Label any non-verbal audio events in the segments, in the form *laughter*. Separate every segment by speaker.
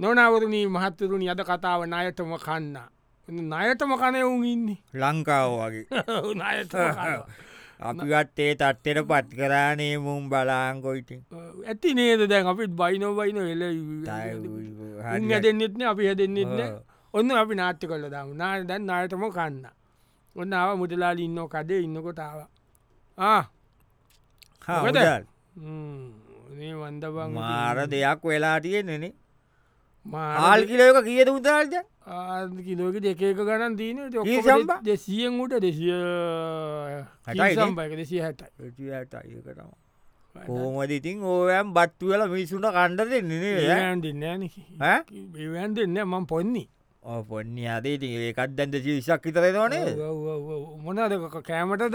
Speaker 1: නොනවරණී මහත්තරුණි අද කතාව නයටම කන්න. නයටම කනයවුන්
Speaker 2: *laughs*
Speaker 1: ඉන්නේ
Speaker 2: ලංකාව වගේ
Speaker 1: නයට
Speaker 2: අපිවත් ඒ තත්වෙන පත් කරානේ මුම් බලාංකොයිටින්
Speaker 1: *laughs* ඇති නේද දැන් අපිත් බයිනොබයින එල හැදෙන්න්නෙත්න අපි හැදෙන්න්නෙත්න
Speaker 2: ඔව්.
Speaker 1: ඔන්න අපි නාට්‍ය කල දම් නා දැන් නයටම කන්න. ඔන්න ආව මුදලාලි ඉන්න කඩේ ඉන්නකොටාව මොකද? ඒ වන්දබං
Speaker 2: මාර දෙයක් වෙලා තියෙනනේ
Speaker 1: මාල්
Speaker 2: ආල් කිලෝක කියද උදාල්ද
Speaker 1: කිලෝකට එකක ගණන් දීන
Speaker 2: කීසම්බ?
Speaker 1: දෙසියෙන් උට දෙසිය
Speaker 2: හතයිනේ.
Speaker 1: සම්බයක දෙසිය හැටයි
Speaker 2: ඒකටම කෝමද ඉතින් ඕයම් බත්තුවල මිසුට කණ්ඩ දෙන්නේ
Speaker 1: බේවන්ඩන්න මම පොන්නේ
Speaker 2: පොන්න අදේ ඉතින් ඒකත් දැන්ද සිවිසක් විතරෙනවානේ
Speaker 1: මොනද කෑමටද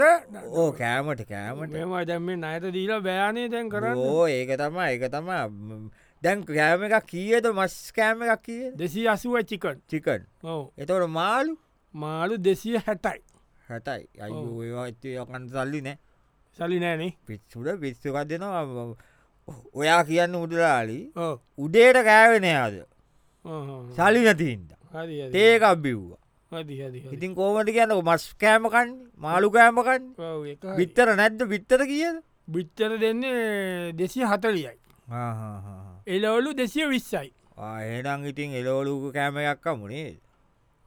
Speaker 2: ඕ කෑමට කෑමට
Speaker 1: මෙම දැම් මේ අයට දීලා බෑනේ දැන් කරන්න
Speaker 2: ඕ ඒක තම ඒක තම දැන් කෑම එකක් කියද මස් කෑම එකක් කිය
Speaker 1: දෙසි අසුව චිකන්
Speaker 2: චිකන්
Speaker 1: ඔව
Speaker 2: එතවට මාලු
Speaker 1: මාලු දෙසිය හැටයි
Speaker 2: හැටයි
Speaker 1: ඔව්.
Speaker 2: අයෝ ඒවායකන් සල්ලි නෑ
Speaker 1: සලි නෑනේ
Speaker 2: පිස්සුට පිස්සුකක් දෙනවා ඔයා කියන්න උඩලාලි
Speaker 1: ඕ
Speaker 2: උඩේට කෑවෙනයාද සලි නැතින්ට
Speaker 1: හරි හරි.
Speaker 2: ඒකක් බිව්වා
Speaker 1: හරි හරි හරි.
Speaker 2: ඉතින් කෝමට කියන්න මස් කෑමකන් මාලු කෑමකන්
Speaker 1: ඔව්, ඒක හරි.
Speaker 2: විත්තර නැද්ද විත්තර කියද
Speaker 1: බිත්තර දෙන්නේ දෙසිය හතලියයි එලවලු දෙසිය විස්සයි
Speaker 2: හෙනම් ඉතින් එලෝලූක කෑමයක්ක මුණේ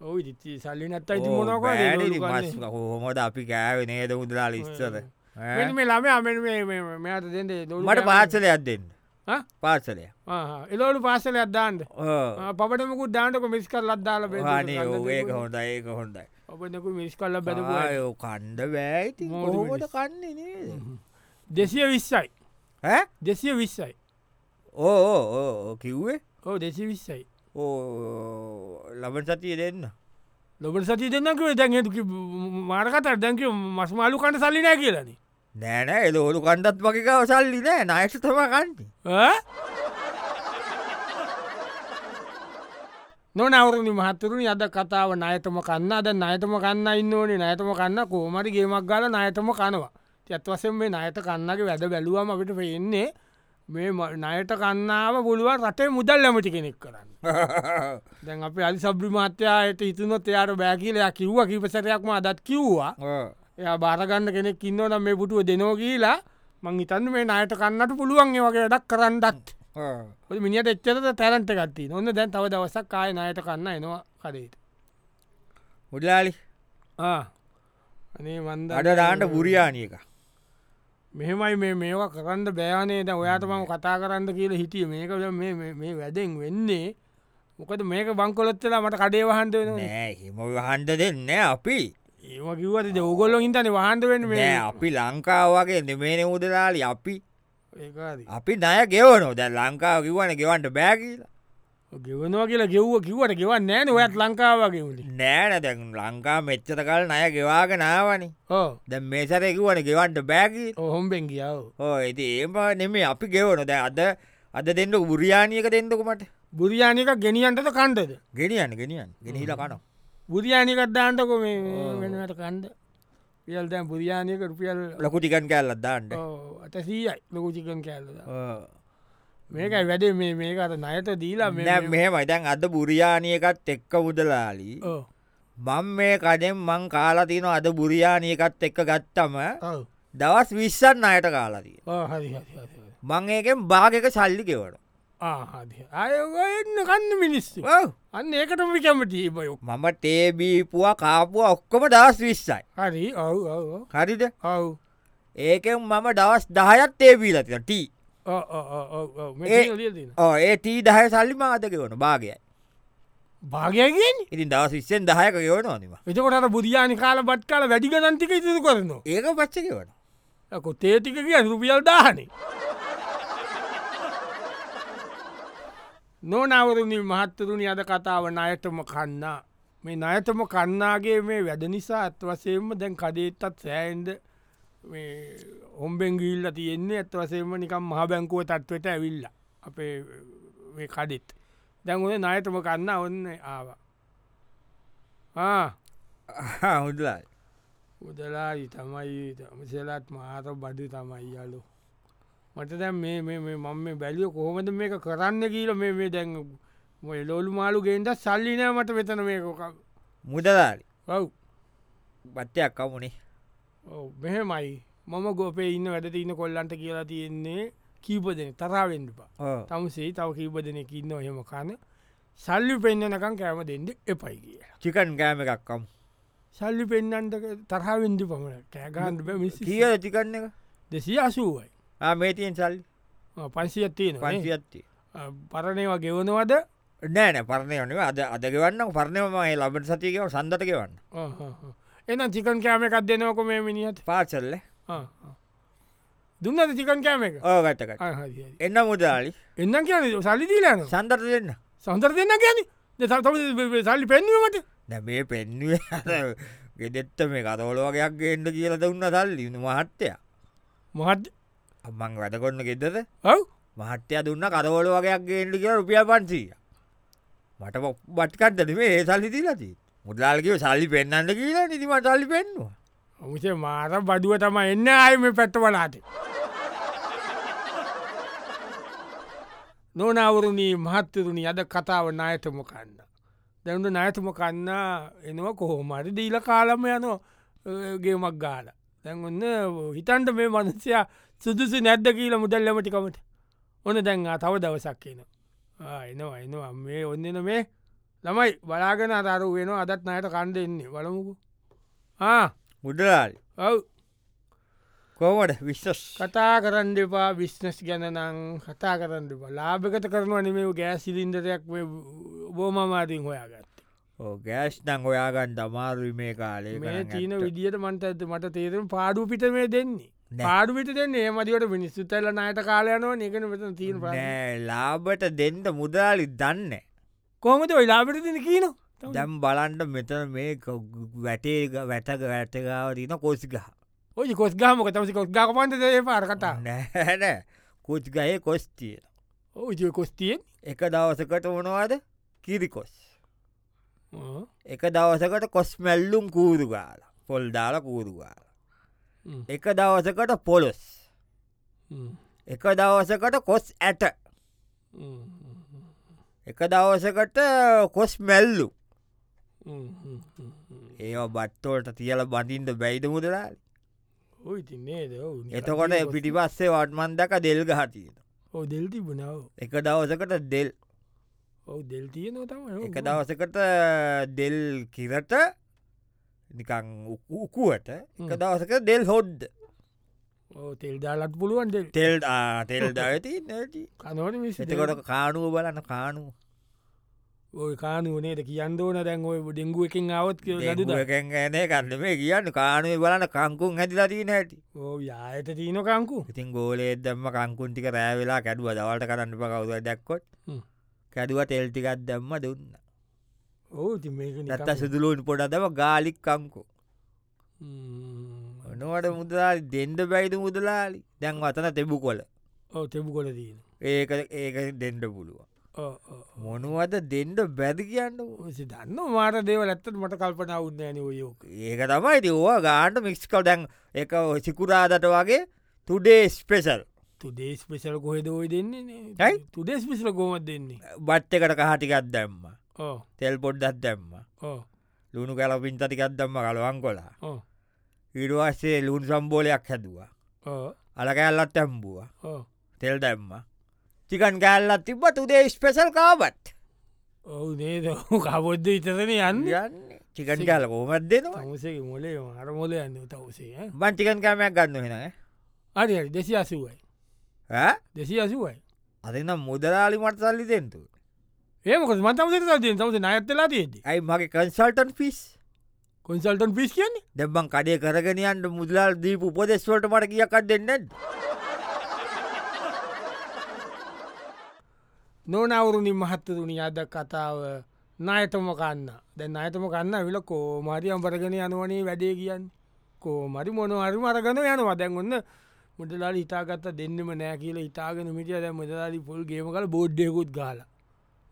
Speaker 1: ඔවු සල්ලි නැත්තයි මොනක
Speaker 2: හොමට අපි කෑව නේද උදලා ලිස්සර
Speaker 1: මේ ළම අම මෙයාට දෙද
Speaker 2: මට පාසලයක් දෙන්න
Speaker 1: ඈ?
Speaker 2: පාසලය
Speaker 1: එලවලු පාසල අදදාන්ට Ah, පටමකු දාන්නක මිස් කල් අදදාල
Speaker 2: වානේ ඒක හොඳ ඒක හොඳයි
Speaker 1: ඔබනකු මිස් කල්ල බැද
Speaker 2: ආයෝ කණ්ඩ බෑයිති
Speaker 1: මෝඩ
Speaker 2: හොමට
Speaker 1: මිනිස්සු.
Speaker 2: කන්නේ නේද
Speaker 1: දෙසිය විස්සයි
Speaker 2: ඈ?
Speaker 1: දෙසිය විස්සයි
Speaker 2: ඕ ඕ, ඕ, ඕ කිව්වේ
Speaker 1: ඕ දෙසි විස්සයි
Speaker 2: ඕ ලබන සතිය දෙන්න
Speaker 1: ලොබට සති දෙන්නකව දැන් තු මාරකතර දැක මස් මාලු කණඩ සල්ලි නෑ කියලන
Speaker 2: නෑනෑ එල ඔලු කණ්ඩත් වගේකව සල්ලි නෑ නයට තම කන්නේ
Speaker 1: නොනවරණ මහතුරුණ අද කතාව නයතම කන්න අද නයතම කන්න ඉන්න ඕනේ නයතම කන්න කෝමට ගේමක් ගල නයතම කනවා ඇත්වසෙන් මේ නයට කන්නගේ වැද බැලුවම අපිට පෙන්නේ මේ ම- නයට කන්නාව පුළුවන් රටේ මුදල් ලැමටි කෙනෙක් කරන්න දැන් අප අලි සබ්‍රි මත්‍යයට ඉතුනොත් එයාට බෑකිලයා කිව්ව කිපසරයක්ම අදත් කිව්වා එය බාරගන්න කෙනෙක් ඉන්නවනම් මේ පුටුව දෙනෝ කියීලා මං හිතන්න මේ නයට කන්නට පුළුවන් ඒ වගේ වැඩක් කරන්නත් ඔය මිනිට එච්චරද තැරන්ට ගත්ති ඔන්න දැන් තව දවසක් කාය නයට කන්න එනවා කඩේට
Speaker 2: මුඩලාලි
Speaker 1: අනේ වන්ද
Speaker 2: අඩ දාන්න පුරියානියක
Speaker 1: මෙහෙමයි මේ මේවා කරන්න බෑනේද ඔයාට මම කතා කරන්න කියලා හිටිය මේක දැන් මේ- මේ මේ වැදෙන් වෙන්නේ මොකද මේක බංකොලොත්තලා මට කඩේ වහන්ද වෙන
Speaker 2: නෑ හිම හන්ඩ දෙන්න අපි
Speaker 1: ඒම කිව්වද ඔගොල්ලො හිතන වහන්ද වෙන
Speaker 2: නෑ අපි ලංකාව වගේ නෙමේන උදලාලි අපි
Speaker 1: ඒකාද
Speaker 2: අපි නය ගෙවනෝ දැ ලංකාව කිවන ගෙවන්ට බෑකිලා
Speaker 1: ගෙවනවා කියලා ගෙව්ව කිවට ගෙවන්න නෑන ඔයත් ලංකාවගේ වුණේ
Speaker 2: නෑන දැන් ලංකා මෙච්චත කල් නය ගෙවාග නාවනි
Speaker 1: ඕ
Speaker 2: දැ මේසර කිවන ගෙවන්ට බෑකිල
Speaker 1: ඔහොම්බෙන් ගියාව
Speaker 2: හෝ ඇති ඒම නෙමේ අපි ගෙවනො දැ අද අද දෙන්න ගුරියානියක දෙන්නකුමට
Speaker 1: බුරියානික ගෙනියන්ටද කණ්ඩද
Speaker 2: ගෙනියන් ගෙනියන් ගෙනහිල කනවා
Speaker 1: බුරියානිකත් දාන්ටකො මේ වෙනට කණ්ඩ පියල් දැන් බුරියානික රුපියල්
Speaker 2: ලොකු ටිකන් කැල්ලත් දාන්නට
Speaker 1: අතසීයි ලොකුචිකන් කෑල්ලද මේකයි වැඩ මේ මේකට නයට දීලා මේ-
Speaker 2: මෙ මෙහෙමයි දැන් අද බුරියානියකත් එක්ක උදලාලි
Speaker 1: ඔව්.
Speaker 2: මං මේ කඩෙන් මං කාලාතින අද බුරියානියකත් එක්ක ගත්තම
Speaker 1: ඔව්.
Speaker 2: දවස් විස්සන් අයට කාලාතිය
Speaker 1: ඔව්, හරි හරි, හරි, හරි.
Speaker 2: මං ඒකෙන් භාගක සල්ලි ගෙවට
Speaker 1: ආ, හරි. අය ඔය එන්න කන්න මිනිස්සු අන්න ඒකටම විකමටී බයෝ
Speaker 2: මම තේබීපුවා කාපුවා ඔක්කොම දවස් විස්සයි
Speaker 1: හරි ඔව් ඔව් ඔව්.
Speaker 2: හරිද
Speaker 1: ඔව්
Speaker 2: ඒකෙන් මම දවස් දහයත් තේබීලතින ටී
Speaker 1: ඔව්, ඔව්, ඔව්, ඔව්, ඔව්. මේ
Speaker 2: ඒ-
Speaker 1: කියලා දීලා තියෙනවා.
Speaker 2: ඕ ඒ තී දහය සල්ලි මාතකවන භාගයයි
Speaker 1: භාගයගෙන්
Speaker 2: ඉතින් දවස් විස්සෙන් දහයක ගෙවන අනිම
Speaker 1: එතකොට බුරියානි කාල බට් කාල වැඩිග නන්තික ඉතුරු කරනවා
Speaker 2: ඒක පච්චකවන
Speaker 1: ඇකො තේටික කිය රුපියල් දානේ නොනවරණින් මහත්තරුණි අද කතාව නයටම කන්නා මේ නයතම කන්නාගේ මේ වැඩ නිසා ඇත්වසයෙන්ම දැන් කඩේත්තත් සෑන්ද ඔම්බෙන් ගිල්ල තියෙන්නේ ඇත්වසේම නිකම් මහ බැංකුව තත්වට ඇවිල්ල අපේ මේ කඩෙත් දැන් ඔය නයතම කන්න ඔන්න ආවා ආ
Speaker 2: හුදලා
Speaker 1: උදලායි තමයි තමසෙලත් මාර බඩු තමයි යලු මට දැන් මේ මම බැලිය කොහොමද මේක කරන්න කියල මේ මේ දැන් මොය ලෝලු මාලු ගේෙන්ට සල්ලිනෑ මට වෙතන මේකෝක
Speaker 2: මුදලාරි
Speaker 1: ඔව්
Speaker 2: බත්තයක් කමුණේ
Speaker 1: ඔව්, මෙහෙමයි මම ගොපේ ඉන්න වැඩ ඉන්න කොල්ලන්ට කියලා තියෙන්නේ කීප දෙන තරාවෙන්ඩුපා තමුසේ තව කීප දෙනෙක ඉන්න ඔහෙම කන සල්ලි පෙන්න්නනකම් කෑම දෙෙන්ඩ එපයි කිය
Speaker 2: චිකන් කෑම එකක්කම්
Speaker 1: සල්ලි පෙන්න්නන්ට තරහාවෙන්ඩි පමණ කෑගහන්ඩ මිසි
Speaker 2: කියල චිකන්න එක
Speaker 1: දෙසිය අසුවයි
Speaker 2: ආ, මේ තියෙන් සල්ලි
Speaker 1: පන්සියත් තියෙන
Speaker 2: පන්සියත්තිය
Speaker 1: පරණවා ගෙවනවද
Speaker 2: නෑන පරණය වනේ අද අදගවන්න පරණයමයි ලබට සතියකව සඳටකවන්න
Speaker 1: ආ, ආ, ආ. එහෙනම් චිකන් කෑම එකක් දෙනවක මේ මිනිියත්
Speaker 2: පාසල්ල
Speaker 1: දුන්නද චිකන් කෑම එක
Speaker 2: ඕගටකට
Speaker 1: ආ, හරි, හරි.
Speaker 2: එන්න මුදලාලි
Speaker 1: එන්න කියන සල්ලිදීලන
Speaker 2: සඳට දෙන්න
Speaker 1: සන්දර දෙන්න කියන තම සල්ලි පෙන්වීමට
Speaker 2: නැබේ පෙන්ුවේ ගෙදෙත්ත මේ කතවල වගේයක් එන්න කියලද උන්න සල්ලි මහත්තය
Speaker 1: මොහත්
Speaker 2: අම්මං වැඩකොන්න ගෙදද
Speaker 1: ඔව්
Speaker 2: මහත්්‍යය දුන්න කතවල වගේයක් එන්න කිය රුපිය පන්සීය මට බට්කටද මේ ඒ සල්ලි තිීලති මුදලාල්කව සල්ලි පෙන්න්නට කියලා නිතිම සල්ලි පෙන්වා
Speaker 1: ඔමුසේ මාර බඩුව තම එන්න අයම පැත්ත වලාට නොනවරුණී මහත්තරුණි අද කතාව නායතම කන්න. දැනුට නයතම කන්න එනවා කොහෝමට දීල කාලම යනෝගේ මක් ගාල. දැන්න්න හිතන්ට මේ මනසයා සුදුසු නැද්ද කියීල මුදල්ලමටිකමට ඕන දැන්වා තව දවසක් කියන. එනවා එනවා මේ ඔන්නන මේ ළමයි බලාගෙන අතරු වෙන අදත් නයට කණ්ඩ එන්නේ වලමුකු ආ!
Speaker 2: මුදලාලි
Speaker 1: ඔව්
Speaker 2: කෝමට විශ්ස්
Speaker 1: කතා කරන්න එපා බිස්්නස් ගැනනං කතා කරන්න එපා ලාභකත කරනවා නෙමේ ගෑ සිලින්දරයක් බෝමමාතින් හොයාගත්
Speaker 2: ගෑස් නං ඔයාගන්න දමාරුයි මේ කාලේ
Speaker 1: මේ
Speaker 2: කරන්න
Speaker 1: චීන
Speaker 2: ඇත්ත.
Speaker 1: විදිියට මන්ත ඇත මට තේරෙන පාඩු පිට මේ දෙන්නේ
Speaker 2: නෑ.
Speaker 1: පාඩුවිට දෙන්නේ මදිවට මිනිස්සුතල්ල නයට කාලයනවා නිකන වෙත තීන්
Speaker 2: නෑ, ලාබට දෙන්ට මුදලාලි දන්න
Speaker 1: කොහමද ඔයි ලාබට දෙන කියීන
Speaker 2: දැම් බලන්ට මෙතන මේ ක- වැටේ ග- වැටක වැටකාව තින කොසිගහ
Speaker 1: ඔයි කොස් ගාමක තමසි කොස් ගාක පන්ත දේ පාර කතා
Speaker 2: නෑ කුච්ගයේ කොස්තිය
Speaker 1: ඔය කොස්තියෙන්
Speaker 2: එක දවසකට මොනවාද කිරිකොස් එක දවසකට කොස් මැල්ලුම් කූරු ගාල පොල් දාල කූරු ගාල එක දවසකට පොලොස් එක දවසකට කොස් ඇට එක දවසකට කොස් මැල්ලු ඒ බත්තෝට තියල බඳින්ට බැයිද මුදලාලි
Speaker 1: ඔයි තින්නේද
Speaker 2: එතකොට පිටිපස්සේ වටමන් දක දෙල් ගහතියෙන
Speaker 1: ඔ දෙල් තිබුණාව
Speaker 2: එක දවසකට දෙල්
Speaker 1: ඔව දෙල් තියනවා තම
Speaker 2: එක දවසකට දෙල් කිරට නිකං උකුවට එක
Speaker 1: හ්ම්. දවසක
Speaker 2: දවසක දෙල් හොඩ්
Speaker 1: තෙල් දාලත් පුළුවන් දෙල්
Speaker 2: තෙල් තෙල් දයති නැති
Speaker 1: කනවට
Speaker 2: එතකොට කානුව බලන්න කානුව
Speaker 1: ඔය කානුවනේද කියන්න ඕන දැන් ඔය ඩෙංගුව එකෙන් අවත් කිය ලද
Speaker 2: ගන කන්න මේ කියන්න කානුව බලන්න කංකුන් ඇති ලදී නැති
Speaker 1: ඕ යායට තියනකංකු
Speaker 2: ඉතින් ගෝලේ දම්ම කංකුන්ටික රෑවෙලා කැඩුව දවල්ට කරන්න පකවද දැක්කොත්
Speaker 1: හ්ම්.
Speaker 2: කැඩුව තෙල්ටිකත් දැම්ම දුන්න
Speaker 1: ඕ ති මේක නිකන්-
Speaker 2: නැත්ත සිදුලුවන් පොඩදම ගාලික් කංකු
Speaker 1: ම්ම්.
Speaker 2: නොවට මුදලාලි දෙන්ඩ බැයිද මුදලාලි දැන් අතන තෙබු කොල
Speaker 1: ඔව් තෙබු කොල දීන
Speaker 2: ඒක ඒක දෙන්ඩ පුළුව මොනුවද දෙන්ඩ බැදි කියන්න
Speaker 1: දන්න මාට දේව ඇත්තට මට කල්පන උන්නෑන ඔයෝක
Speaker 2: ඒක තමයි තිවා ගාන්ට මික්ස්කල් ඩැන් එක සිකුරාදට වගේ තුඩේ ස්පෙසල්
Speaker 1: තුදේශ පිසල කොහෙද ඔය දෙන්නේ නේ?
Speaker 2: ඇයි?
Speaker 1: තුදේශ පිසල කොමත් දෙන්නේ
Speaker 2: බට් එකට කහටිකත් දැම්ම
Speaker 1: ඕ
Speaker 2: තෙල් පොඩ්ඩත් දැම්ම
Speaker 1: ඕ
Speaker 2: ලුණු කැල පින්තතිකත් දම්ම කලවන් කොලා
Speaker 1: ඕ
Speaker 2: ඉඩවාස්සේ ලුන් සම්බෝලයක් හැදවා
Speaker 1: ඕ
Speaker 2: අලකැල්ලත් තැම්බුව
Speaker 1: ඕ
Speaker 2: තෙල් දැම්ම චිකන් කෑල්ලත් තිබ තුදේ ස්පෙසල් කාවත්
Speaker 1: ඔවු නේද කබොද්ධ ඉතරන යන්න
Speaker 2: යන්නේ චිකන් කෑල කෝමත් දෙනවා
Speaker 1: තමුසේ මොලේ අර මොල යන්න තවසේ ඈ.
Speaker 2: බන් චිකන් කෑමයක් ගන්න වෙනගේ
Speaker 1: හරි හරි දෙසි අසුවයි දෙසි අසුවයි
Speaker 2: අදනම් මුදලාලි මට සල්ලි දෙෙන්තු
Speaker 1: ඒමක මතමස තිය තමස නයත්තලා තියෙද
Speaker 2: ඇයි මගේ කන්සල්ටන් ෆිස්
Speaker 1: කොන්සල්ටන් පිස් කියන්නේ
Speaker 2: දෙබන් කඩේ කරගෙනයන්ට මුදලාල් දීප උපදෙස්වලට මට කියකක් දෙන්නත්
Speaker 1: නොනවරුණි මහත්තරුණි අද කතාව නායතම කන්න දැන් අයතම කන්න විල කෝමරියම් පරගෙන යනුවනේ වැඩේ කියන්න කෝමරි මොන අරි මරගන යනවා දැන් ඔන්න මුදලාල ඉතාගත්ත දෙන්නම නෑ කියලා ඉතාගෙන මිටිය දැ මුදලාලි පොල් ගේම කල බෝඩ්ඩයකුත් ගාල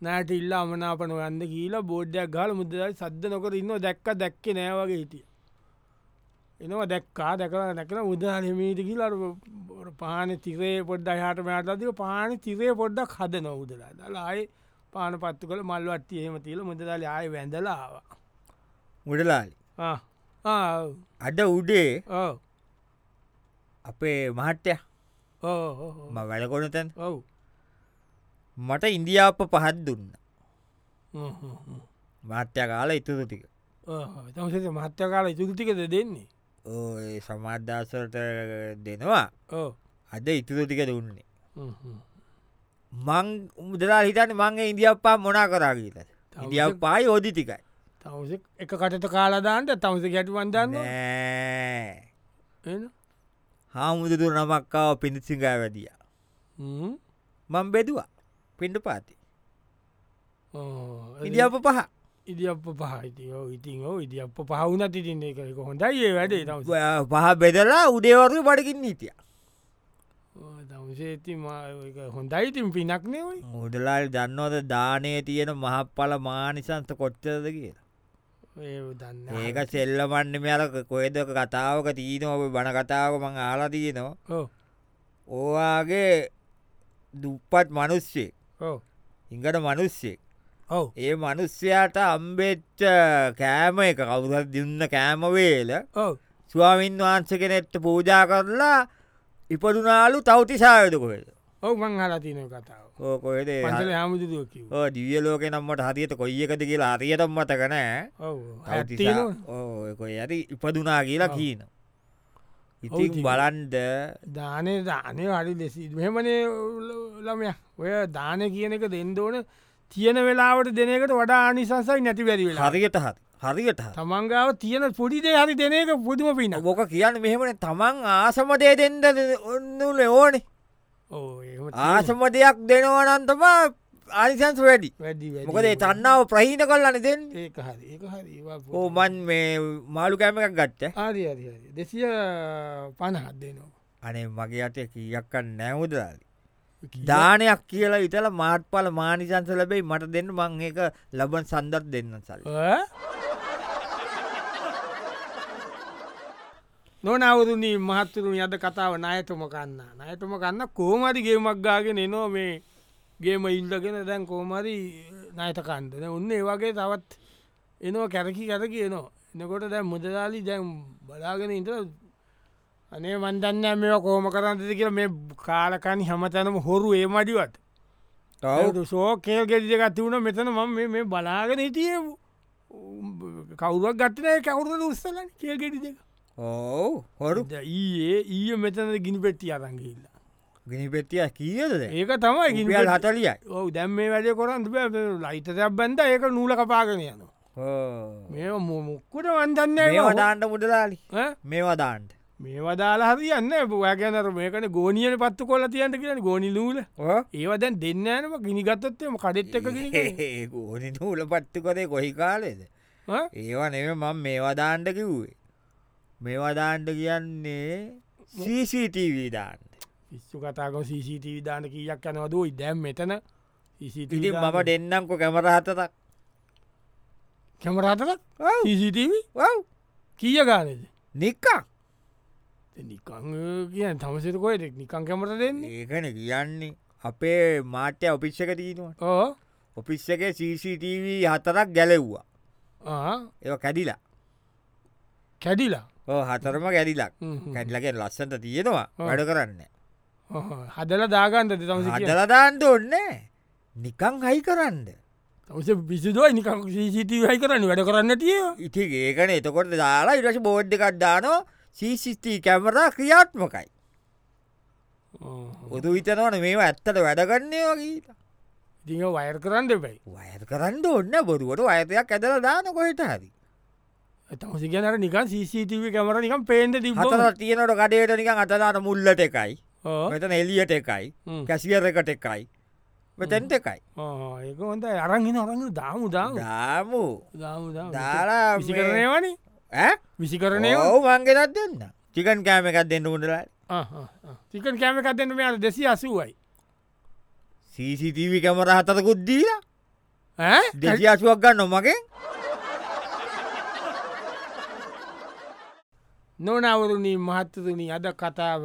Speaker 1: නෑට ඉල්ලා අමනාපන යන්න කියලා බෝඩ්ඩයක් ගාල මුදලාලි සද්ධ නොකර ඉන්න දැක්ක දැක්කේ නෑවගේ හිටිය එනවා දැක්කා දැකලා නැකන උදානමීට කියලා අර පාන තිරේ පොඩ්ඩ හට මයාටතික පාන තිරේ පොඩ්ඩක් හද නොවදලා දලායි පාන පත්තු කළ මල්වට්ටිය එහෙම තිීල මුදදාල ආය වැඳලාවා
Speaker 2: මුඩලාලි අඩ උඩේ
Speaker 1: ඕ
Speaker 2: අපේ මහට්ටය
Speaker 1: ඕ
Speaker 2: ම වැඩකොන තැන්
Speaker 1: ඔව්
Speaker 2: මට ඉන්දියාප පහත් දුන්න මාත්‍ය කාල ඉතුරු ටික
Speaker 1: තමසේ මහත්‍ය කාල ඉතුෘතිකද දෙන්නේ
Speaker 2: ඒ සමාධාසට දෙනවා
Speaker 1: ඕ
Speaker 2: අද ඉතුරු ටික දුන්නේ මං උදලා හිතන මං ඉන්දියප්පා මොනා කරාගීත ඉදිිය පායි හෝදි ටිකයි
Speaker 1: තවස එක කටට කාලාදාන්ට තමස ගැටුවන්දන්න
Speaker 2: හාමුදුදුර නමක්කාව පිණිසිංගා වැදිය මං බෙදවා පිඩ පාති ඉදිියප පහ
Speaker 1: ඉදිියප පහහිතිය ඉතින් ඕ ඉදිියප පහවුනත් ඉතින්නේ කරක හොඳයි ඒ වැඩේ තවස
Speaker 2: පහ බෙදලා උඩේවරු පඩකින් නීතිය
Speaker 1: තවසේති හොඳයි ඉතින් පිනක් නෙවයි
Speaker 2: මුඩලාල් දන්නවද දානය තියෙන මහප්පල මානිසන්ත කොච්චරද කියලා
Speaker 1: ඒ දන්න
Speaker 2: ඒක සෙල්ලමන්න මෙයාලක කොයදක කතාවක තියන ඔබ බණ කතාවක මං ආලා තියනවා
Speaker 1: ඕ
Speaker 2: ඕවාගේ දුප්පත් මනුස්්‍යයෙක්
Speaker 1: ඕ
Speaker 2: ඉඟට මනුස්්‍යයෙක්
Speaker 1: ඔව්
Speaker 2: ඒ මනුස්්‍යයාට අම්බෙච්ච කෑම එක කවුරත් දෙන්න කෑමවේල
Speaker 1: ඔව්
Speaker 2: ස්වාමින් වහන්ස කෙනෙත්ත පූජා කරලා ඉපදුනාලු තවතිසායදකොහෙද
Speaker 1: ඔව මං හලතින කතාව
Speaker 2: ඕකොහෙද
Speaker 1: පන්සල හාමුදුදුව කිව්
Speaker 2: දියලෝක නම්මට හරියට කොයි එකද කියලා අරියටම් මතකනෑ
Speaker 1: ඔව
Speaker 2: ඕකොයි ඇරි ඉපදුනා කියලා
Speaker 1: ඔව්.
Speaker 2: කියීන
Speaker 1: ඔව්
Speaker 2: ඉතින්
Speaker 1: ජීවී.
Speaker 2: බලන්ඩ
Speaker 1: දානය දානය අරි දෙසි මෙමනේ ළමය ඔය දාන කියන එක දෙන්දෝන තියෙන වෙලාවට දෙනකට වඩා නිසසයි නැති වැරි වෙලා
Speaker 2: හරියට හත් හරියට හරි.
Speaker 1: තමන්ගාව තියෙන පොඩිදේ හරි දෙනක පුදුම පින
Speaker 2: මොක කියන්න මෙහෙමන තමන් ආසමටය දෙන්ද ඔන්නුල ඕනේ ආසම දෙයක් දෙනවනන්තම ආනිසන්ස් වැඩි
Speaker 1: වැඩි
Speaker 2: මොකද ඒ තන්නාව ප්‍රහීන කල්ලන දෙන්න
Speaker 1: ඒ හරි ඒ හරි
Speaker 2: ඕමන් මේ මාළු කෑමක් ගත්ත
Speaker 1: ආරි හරි හරි දෙසිය පණහත් දෙනවා
Speaker 2: අනේ මගේ අට කියක්ක නැවදල දානයක් කියලා ඉතල මාට් පල මානිසංස ලැබයි මට දෙන්න මං ඒක ලබන් සන්දත් දෙන්න සල්
Speaker 1: ඈ? නොනවුරුණී මහත්තුරුණ අද කතාව නයතුම කන්න නයතුම කන්න කෝමරිගේ මක්ගාගෙන නෝ මේ ගේම ඉල්ලගෙන දැන් කෝමරි නයට කන්දන උන්න ඒ වගේ තවත් එනවා කැරකි කර කියනවා එනකොට දැ මුදලාලි දැන් බලාගෙන ඉට අනේ වන්දන්න මේ කෝම කරන්තති කියල මේ කාලකනි හැමතැනම හොරු ඒ මඩිවත් සෝ කේල් ගෙදිය ගත්තිවුණ මෙතන ම මේ බලාගෙන හිටිය කවුරක් ගත්තනය කවුරද උස්සල කේල් ගෙඩි දෙක
Speaker 2: ඕ හොරු
Speaker 1: ද ඊයේ ඊය මෙතන ගිනි පෙට්ටි අරංගිල්ල
Speaker 2: ගිනි පෙත්තිය කියද
Speaker 1: ඒක තමයි ගිනි
Speaker 2: ගිනිියල් හතලියයි
Speaker 1: ඔව දැම් මේ වැඩය කොරන්න ලයිතයක් බැන්ද ඒක නූල කපාගෙන යනවා මේ මුක්කුට වන්දන්න
Speaker 2: මේවදාන්ට මුඩලාලි මේවදාන්ට
Speaker 1: මේ වදාලා හරි යන්න ඔයගැනර මේකට ගෝනියට පත්තු කොල්ල තියන්ට කියන ගෝනි ලූල ඒවදැන් දෙන්න නම ගිනිගත්තත්යම කඩෙට් එක ගිනි
Speaker 2: *laughs*
Speaker 1: ගන්න.
Speaker 2: ඕනි නූල පට්ටි කරේ කොහි කාලෙද
Speaker 1: ඈ?
Speaker 2: ඒවා නෙම මං මේවදාන්ට කිව්වේ මේවදාන්ට කියන්නේ CCTV දාන්ට
Speaker 1: පිස්සු කතාක සිට විධාන කීයක් යනවදයි දැම් මෙතන
Speaker 2: ඉතින් මම දෙන්නම්කො කැමරහතතක්
Speaker 1: කැමරාතක සිටව කිය ගානද
Speaker 2: නික්කා
Speaker 1: නිකං කියන තමසරකොයට නිකං කැමට දෙන්නේ
Speaker 2: ඒකන කියන්නේ අපේ මාට්‍ය ඔපිස්්ක තිීනවා
Speaker 1: ඕ
Speaker 2: ඔපිස් එක CCTV හතරක් ගැලෙව්වා ඒ කැඩිලා
Speaker 1: කැඩිලා
Speaker 2: ඕ හතරම ගැඩිලක්
Speaker 1: හ්ම් හ්ම්.
Speaker 2: කැඩිලගෙන් ලස්සට තියෙනවා
Speaker 1: ඔව්.
Speaker 2: වැඩ කරන්න
Speaker 1: ඔහො. හදල දාගන්තද තමස
Speaker 2: අදලදාන්ට ඔන්න නිකං හයි කරන්න
Speaker 1: තමස බිසිදුවයි නිකං සිටවයි කරන්න වැඩ කරන්න තිය
Speaker 2: ඉති ඒකන එතකොට දාලා ඉරස බෝඩ් එකක්ඩානෝ සීසිිස්ටී කැමරා ක්‍රියාත්මකයි උතු විතනවන මේ ඇත්තට වැඩගන්නේ වගේ
Speaker 1: ඉතිහ වයර් කරන්න දෙබයි
Speaker 2: වයත් කරන්න ඔන්න බොරුවට අයතයක් ඇදල දාන කොහෙට හරි
Speaker 1: තමස ගැනර නිකන් සිටව කැමර නිකම් පේන්ට තිබ
Speaker 2: හතර තියනට කඩේට නිකන් අතදාන මුල්ලට එකයි මෙතන එලියට එකයි කැසිියර එකට එකයි මෙතැන්ට එකයි
Speaker 1: ඒක හොඳ අරගෙන අරගෙන දාමු දාම
Speaker 2: දාමු
Speaker 1: දාමු දාම
Speaker 2: දාලා මේ-
Speaker 1: විසිකරණයවනි
Speaker 2: ඈ?
Speaker 1: විසිකරණය
Speaker 2: ඔව් මංගෙනත් දෙන්න චිකන් කෑම එකත් දෙන්න උඩලා
Speaker 1: තිකන් කෑමකක් දෙන්න මෙයාට දෙසි අසුවයි
Speaker 2: සීසිටීව කැමර හතකුත් දීලා
Speaker 1: ඈ?
Speaker 2: දෙසි අසුවක් ගන්න නොමගේ
Speaker 1: නොනවරුණී මහත්තතුනී අද කතාව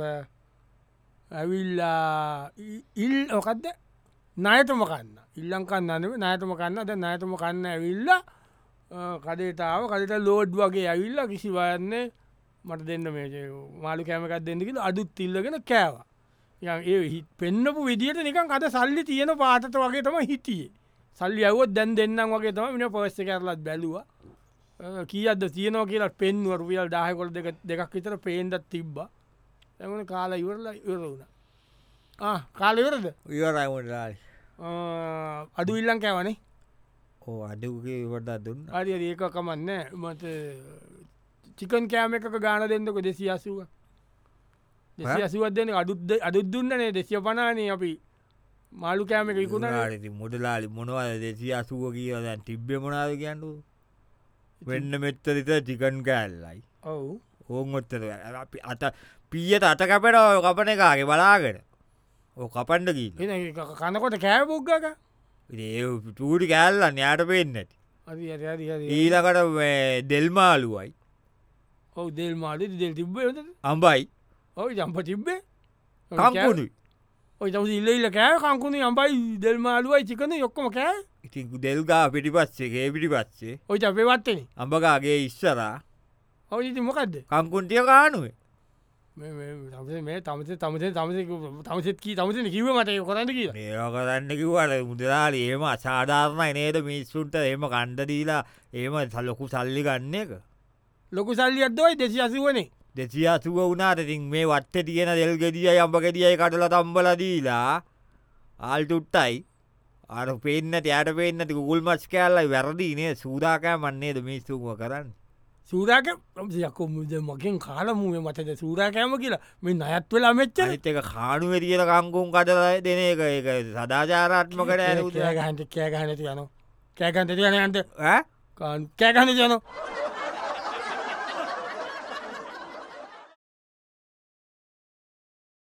Speaker 1: ඇවිල්ලා ඉ- ඉල් ඕකක්ද නයතම කන්න ඉල්ලංකන්න අනුව නයතම කන්න ද නයතම කන්න ඇවිල්ල කඩේතාව කඩට ලෝඩ් වගේ ඇවිල්ල කිසි වයන්නේ මට දෙන්න මේ මාළු කෑමකක් දෙන්නකිල අඩුත් ඉල්ලගෙන කෑවා යන් ඒ හි- පෙන්නපු විදිහට නිකන් අද සල්ලි තියෙන පාතත වගේ තම හිටියේ සල්ලි ඇවොත් දැන් දෙන්නම් වගේ තම මෙන පොස්ස කරලත් බැලවා කියද තියනෝ කියලා පෙන්වරුවියල් දාහකොල් දෙක දෙකක් විතර පේන්දත් තිබ්බා ඇමන කාලා ඉවරලා ඉවර වුණ කාලවරද
Speaker 2: ඉවරයිමටලාල්
Speaker 1: අඩු ඉල්ලං කෑවනේ
Speaker 2: ඕ අඩුගේ ඉවට දුන්න
Speaker 1: අරි ඒකකමන්න මත චිකන් කෑම එක ගාන දෙන්නක දෙසි අසුව දෙසි අසුවත් දෙන අඩුද අඩුත් දුන්නනේ දෙසිය පනානේ අපි මාළු කෑමක ඉකුණ
Speaker 2: ඉකුණාලති මුඩලාලි මොනවද දෙසි අසුව කියලදැන් තිබ්බෙ මොනාද කියන්නු වෙන්න මෙත්ත රිත චිකන් කෑල්ලයි
Speaker 1: ඔවු
Speaker 2: ඕන් ඔත්තර අපි අත පීියට අත කැපෙන ඔය කපන එකගේ බලාගෙන ඕ කපන්ඩ කී
Speaker 1: එ කනකොට කෑපුක්ගක
Speaker 2: ඒ චූටි කෑල්ල න්යාට පෙන්නට
Speaker 1: අරි අරි
Speaker 2: ඊලකට දෙල්මාලුවයි
Speaker 1: ඔව දෙල් මාලි දෙල් තිබ්බ
Speaker 2: අම්බයි
Speaker 1: ඔයි ජම්ප තිබ්බේ
Speaker 2: කම්පුුණු
Speaker 1: ඔයි තව ඉල්ලඉල්ල කෑ කංකුණේ අම්බයි දෙල් මාලුවයි චිකන යොක්කම කෑ
Speaker 2: ඉතින් දෙල්ගා පිටි පස්සේගේ පිටි පස්සේ
Speaker 1: ඔයි අපේවත්තෙන
Speaker 2: අඹකාගේ ඉස්සරා
Speaker 1: ඔයි ඉති මොකක්ද
Speaker 2: කංකුන්ටිය කානුවේ
Speaker 1: මේ- මේ තමසේ මේ තමසේ තමසේ තමසේ තමසෙත් කී තමසන කිව මට ඒක කොරන්න කියලා
Speaker 2: මේවා කරන්න කිවට මුදලාල ඒම අසාධාරණයි නේද මිස්සුන්ට එම කණ්ඩදීලා ඒම සල්ලොකු සල්ලි ගන්න එක
Speaker 1: ලොකු සල්ලි අදවයි දෙසි අසුවනේ
Speaker 2: දෙසියාසුව වුණාට ඉතින් මේ වට්ට තියෙන දෙල්ගෙදිය යම්පගෙදියයි කටල තම්බලදීලා ආල්ටුට්ටයි අර පෙන්න්න තෑට පෙන්න්නති ගුල් මස් කෑල්ලයි වැරදිනේ සූදාකෑ මන්නේද මිස්සුම කරන්න
Speaker 1: සූරාක යකො මුද මකින් කාලමුේ මතද සූරාකෑම කියලා මේ අයත් වෙලා මෙච්ච
Speaker 2: චරිත එක කානුව තියෙන කංකුම් කටලයි දෙන එක එක සදාචාරාත්මකට ඇ
Speaker 1: කෑගහන්ට කෑගහනති යන කෑකන්තති යන යන්ට කෑගහන යන